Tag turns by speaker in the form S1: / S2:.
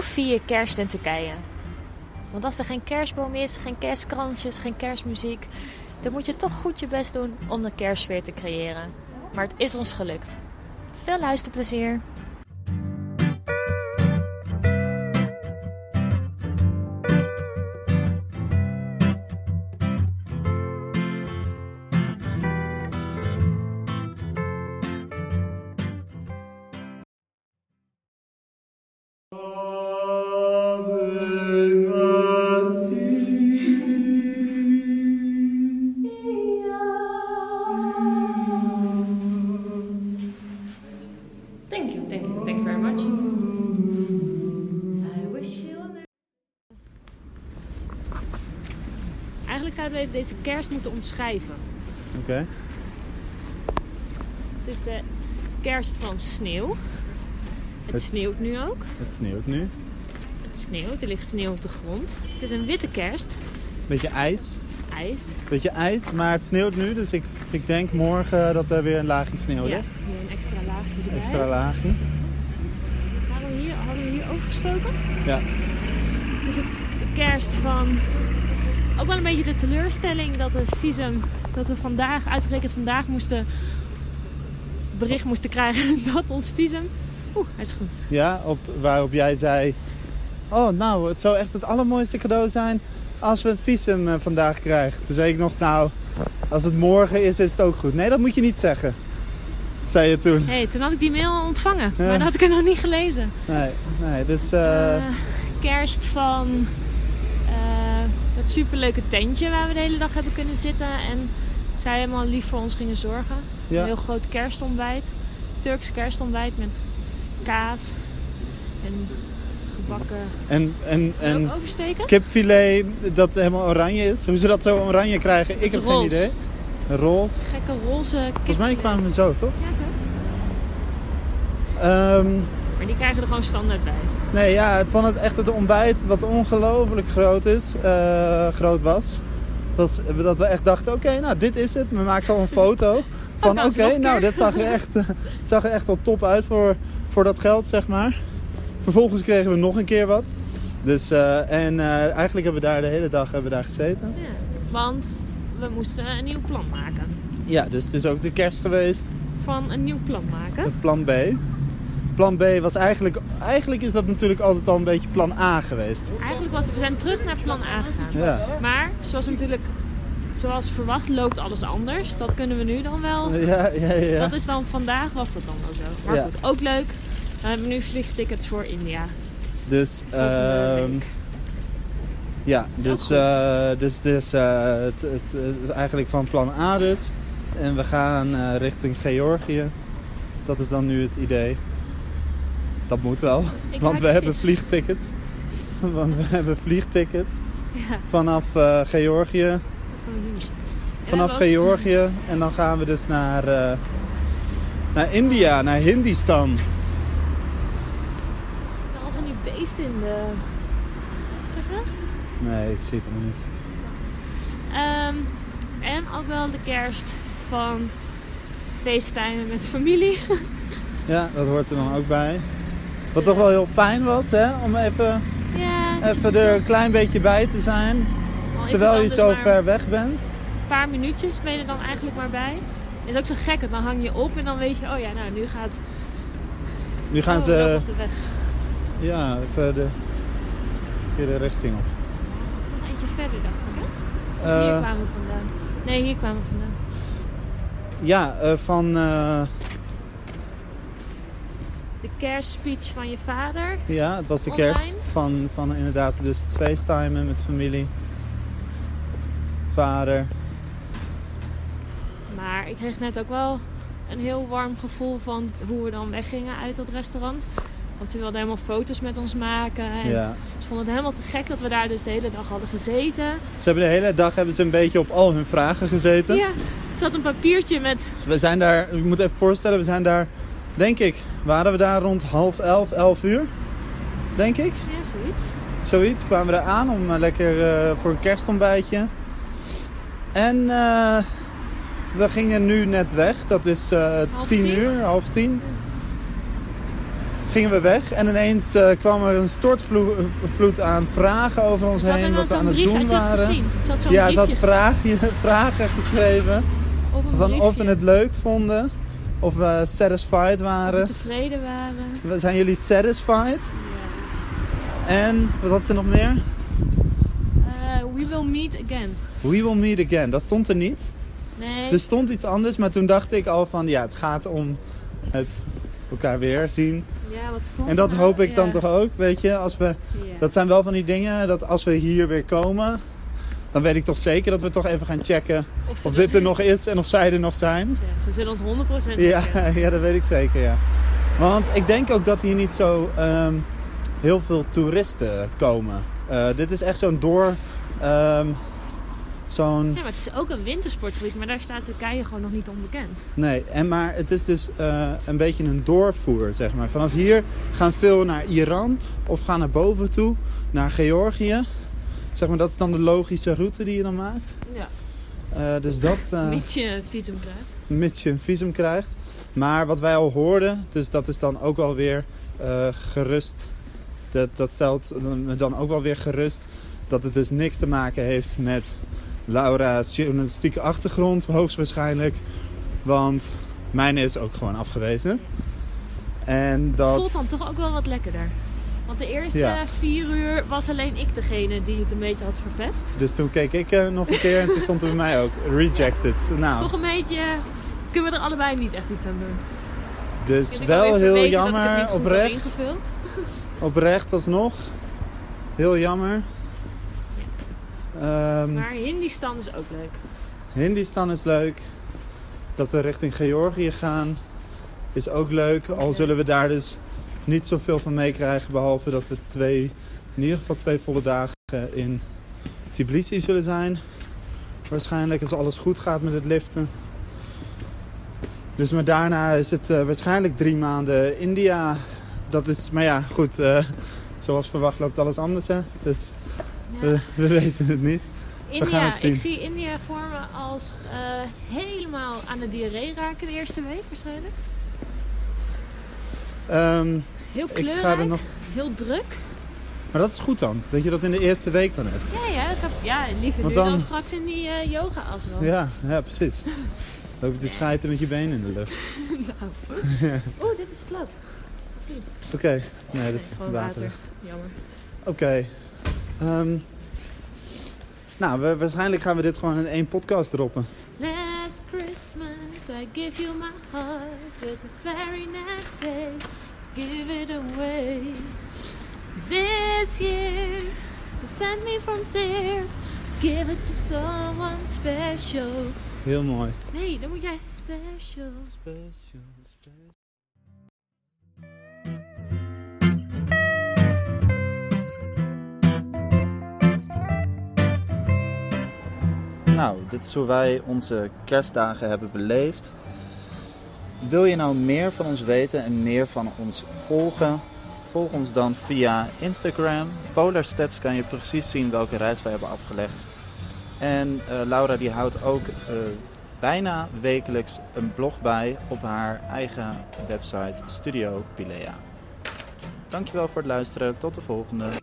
S1: vier kerst in Turkije. Want als er geen kerstboom is, geen kerstkransjes, geen kerstmuziek, dan moet je toch goed je best doen om de kerstsfeer te creëren. Maar het is ons gelukt. Veel luisterplezier!
S2: Thank you, thank you, thank you very much. I wish you a merry-
S1: Eigenlijk zouden we deze kerst moeten omschrijven.
S3: Oké.
S1: Het is de kerst van sneeuw. Het,
S3: Het-
S1: sneeuwt nu ook.
S3: Het sneeuwt nu.
S1: Het sneeuwt, er ligt sneeuw op de grond. Het is een witte kerst.
S3: Beetje ijs.
S1: Ijs.
S3: Beetje ijs, maar het sneeuwt nu. Dus ik, ik denk morgen dat er weer een laagje sneeuw
S1: ja,
S3: ligt.
S1: hier een extra laagje erbij.
S3: Oh, Extra laagje.
S1: Hadden we hier, hadden we hier overgestoken?
S3: Ja.
S1: Het is het, de kerst van... Ook wel een beetje de teleurstelling dat het visum... Dat we vandaag, uitgerekend vandaag, moesten... Bericht moesten krijgen dat ons visum... Oeh, hij is goed.
S3: Ja, op, waarop jij zei... Oh, nou, het zou echt het allermooiste cadeau zijn als we het visum eh, vandaag krijgen. Toen zei ik nog, nou, als het morgen is, is het ook goed. Nee, dat moet je niet zeggen, zei je toen.
S1: Hé, hey, toen had ik die mail al ontvangen.
S3: Ja.
S1: Maar dat had ik er nog niet gelezen.
S3: Nee, nee, dus... eh,
S1: Eh, kerst van eh, dat superleuke tentje waar we de hele dag hebben kunnen zitten. En zij helemaal lief voor ons gingen zorgen. Een
S3: ja,
S1: heel groot kerstontbijt. Turks kerstontbijt met kaas en gebakken.
S3: en, en,
S1: En
S3: en
S1: ook oversteken?
S3: kipfilet dat helemaal oranje is. Hoe ze dat zo oranje krijgen, ik
S1: is
S3: heb
S1: roze.
S3: geen idee. Roze.
S1: Gekke roze kip.
S3: Volgens mij kwamen we zo, toch?
S1: Ja, zo.
S3: Ehm,
S1: Maar die krijgen er gewoon standaard bij.
S3: nee, ja, het, van het, echt het ontbijt wat ongelooflijk groot, is, eh, groot was. Dat, ze- dat we echt dachten, oké, nou dit is het. We maakten al een foto van,
S1: nou, eens
S3: oké,
S1: nog een
S3: nou
S1: keer.
S3: dit zag er echt, eh, zag er echt al top uit voor, voor dat geld, zeg maar. Vervolgens kregen we nog een keer wat. Dus, eh, en eh, eigenlijk hebben we daar de hele dag hebben we daar gezeten.
S1: Ja. Want we moesten een nieuw plan maken.
S3: Ja, dus het is ook de kerst geweest.
S1: Van een nieuw plan maken.
S3: Het plan B. Plan B was eigenlijk... Eigenlijk is dat natuurlijk altijd al een beetje plan A geweest.
S1: Eigenlijk was we zijn terug naar plan A gegaan.
S3: Ja.
S1: Maar zoals natuurlijk, zoals verwacht, loopt alles anders. Dat kunnen we nu dan wel.
S3: Ja, ja, ja.
S1: Dat is dan vandaag was dat dan wel zo. Maar
S3: Ja.
S1: goed, ook leuk. We hebben nu vliegtickets voor India.
S3: Dus,
S1: Volgende
S3: ehm,
S1: week.
S3: ja,
S1: is ook
S3: dus,
S1: goed.
S3: eh, dus, dus eh, het, het, het- eigenlijk van plan A dus. En we gaan eh, richting Georgië. Dat is dan nu het idee. Dat moet wel,
S1: Ik
S3: want
S1: raak
S3: we hebben
S1: vis.
S3: vliegtickets. Want we hebben vliegtickets
S1: Ja,
S3: vanaf eh, Georgië.
S1: gewoon hier. En
S3: Vanaf
S1: we hebben ook-
S3: Georgië en dan gaan we dus naar, eh, naar India, naar Hindistan.
S1: Al van die beesten in de. Zeg je dat?
S3: Nee, ik zie het helemaal niet.
S1: Ehm, en ook wel de kerst van feesttimen met familie.
S3: Ja, dat hoort er dan ook bij. Wat toch wel heel fijn was, hè? Om even,
S1: Ja, het is
S3: even er een klein beetje bij te zijn.
S1: al is
S3: Terwijl
S1: het
S3: je
S1: dan
S3: zo
S1: dus maar
S3: ver weg bent.
S1: Een paar minuutjes ben je er dan eigenlijk maar bij. Is ook zo gek, want dan hang je op en dan weet je, oh ja, nou nu gaat
S3: Nu gaan
S1: oh, wel
S3: ze
S1: op de weg.
S3: ja, even de verkeerde richting op.
S1: Nog eentje verder, dacht ik. Hè?
S3: Eh,
S1: hier kwamen we vandaan. Nee, hier kwamen we vandaan.
S3: ja, eh, van. eh,
S1: De kerstspeech van je vader.
S3: ja, het was de
S1: Online?
S3: kerst. Van, van inderdaad, dus het facetimen met familie, vader.
S1: Maar ik kreeg net ook wel een heel warm gevoel van hoe we dan weggingen uit dat restaurant. Want ze wilden helemaal foto's met ons maken. En
S3: Ja.
S1: Ze vonden het helemaal te gek dat we daar dus de hele dag hadden gezeten.
S3: Ze hebben de hele dag hebben ze een beetje op al hun vragen gezeten.
S1: Ja, er zat een papiertje met
S3: Dus we zijn daar, je moet even voorstellen, we zijn daar, denk ik, waren we daar rond half elf, elf uur? Denk ik.
S1: ja, zoiets.
S3: Zoiets kwamen we daar aan om eh, lekker eh, voor een kerstontbijtje. En eh, we gingen nu net weg, dat is eh
S1: Half
S3: tien
S1: tien?
S3: uur, half tien. gingen we weg en ineens eh, kwam er een stortvloed aan vragen over ons
S1: Ze had
S3: heen,
S1: dan
S3: wat we
S1: nou zo'n
S3: aan het
S1: brief,
S3: doen
S1: had je het
S3: waren.
S1: gezien? Ze had zo'n
S3: ja, ze
S1: briefje
S3: had vragen, vragen geschreven
S1: op een
S3: van of
S1: briefje.
S3: we het leuk vonden, of we satisfied
S1: Of we
S3: waren.
S1: tevreden waren.
S3: We- Zijn jullie satisfied?
S1: Ja.
S3: En wat had ze nog meer?
S1: Eh, we will meet again.
S3: We will meet again. Dat stond er niet.
S1: Nee,
S3: Er stond iets anders, maar toen dacht ik al van ja, het gaat om het elkaar weer zien.
S1: ja, wat stond
S3: En dat
S1: er?
S3: hoop ik dan
S1: Ja,
S3: toch ook, weet je. Als we,
S1: ja.
S3: dat zijn wel van die dingen dat als we hier weer komen, dan weet ik toch zeker dat we toch even gaan checken
S1: ze
S3: of
S1: doen-
S3: dit er nog is en of zij er nog zijn.
S1: Ja, ze zullen ons 100%
S3: Ja,
S1: lukken.
S3: ja, dat weet ik zeker, ja. Want ik denk ook dat hier niet zo ehm, heel veel toeristen komen. Eh, dit is echt zo'n door... ehm, zo'n...
S1: Ja, maar het is ook een wintersportgebied, maar daar staat Turkije gewoon nog niet onbekend.
S3: Nee, en maar het is dus eh, een beetje een doorvoer, zeg maar. Vanaf hier gaan veel naar Iran of gaan naar boven toe, naar Georgië. Zeg maar, dat is dan de logische route die je dan maakt.
S1: Ja,
S3: Eh, dus dat... eh,
S1: mits je een visum krijgt.
S3: mits je een visum krijgt. Maar wat wij al hoorden, dus dat is dan ook wel weer eh, gerust. Dat, dat stelt me dan ook wel weer gerust dat het dus niks te maken heeft met Laura's journalistieke achtergrond, hoogstwaarschijnlijk. Want mijn is ook gewoon afgewezen. En
S1: Het
S3: dat.
S1: voelt dan toch ook wel wat lekkerder. Want de eerste
S3: Ja.
S1: vier uur was alleen ik degene die het een beetje had verpest.
S3: Dus toen keek ik eh, nog een keer en toen stond er bij mij ook rejected.
S1: Toch
S3: Nou,
S1: een beetje, kunnen we er allebei niet echt iets aan doen.
S3: dus
S1: Vind ik
S3: wel
S1: even
S3: heel
S1: weten dat ik het niet
S3: jammer,
S1: goed had
S3: oprecht.
S1: ingevuld.
S3: Oprecht alsnog. Heel jammer. Ehm
S1: Maar Hindistan is ook leuk.
S3: Hindistan is leuk. Dat we richting Georgië gaan is ook leuk. Al
S1: Oké.
S3: zullen we daar dus niet zoveel van meekrijgen. Behalve dat we twee, in ieder geval twee volle dagen in Tbilisi zullen zijn. Waarschijnlijk als alles goed gaat met het liften. Dus maar daarna is het eh, waarschijnlijk drie maanden India. Dat is, maar ja, goed. eh, zoals verwacht loopt alles anders, hè. Dus
S1: Ja.
S3: we, we weten het niet. gaan
S1: India,
S3: het zien.
S1: ik zie India voor me als eh, helemaal aan de diarree raken de eerste week waarschijnlijk.
S3: Ehm,
S1: Heel
S3: ik
S1: kleurrijk,
S3: ga er nog
S1: heel druk.
S3: Maar dat is goed dan, dat je dat in de eerste week dan hebt.
S1: Ja, ja, zo, ja liever
S3: Want
S1: nu dan,
S3: dan-
S1: straks in die eh, yoga as wel.
S3: Ja, ja precies. Loop je te schijten met je benen in de lucht.
S1: Oeh, dit is glad.
S3: Oké, nee, dat
S1: het
S3: is
S1: is gewoon
S3: water.
S1: water. Jammer.
S3: Oké. Ehm, nou, we, waarschijnlijk gaan we dit gewoon in één podcast droppen.
S1: Last Christmas I give you my heart, but the very next day give it away. This year to send me from tears, give it to someone special.
S3: Heel mooi.
S1: Nee, dan moet jij special.
S4: Nou, dit is hoe wij onze kerstdagen hebben beleefd. Wil je nou meer van ons weten en meer van ons volgen? Volg ons dan via Instagram. Polar Steps kan je precies zien welke reis wij hebben afgelegd. En eh, Laura die houdt ook eh, bijna wekelijks een blog bij op haar eigen website Studio Pilea. Dankjewel voor het luisteren. Tot de volgende.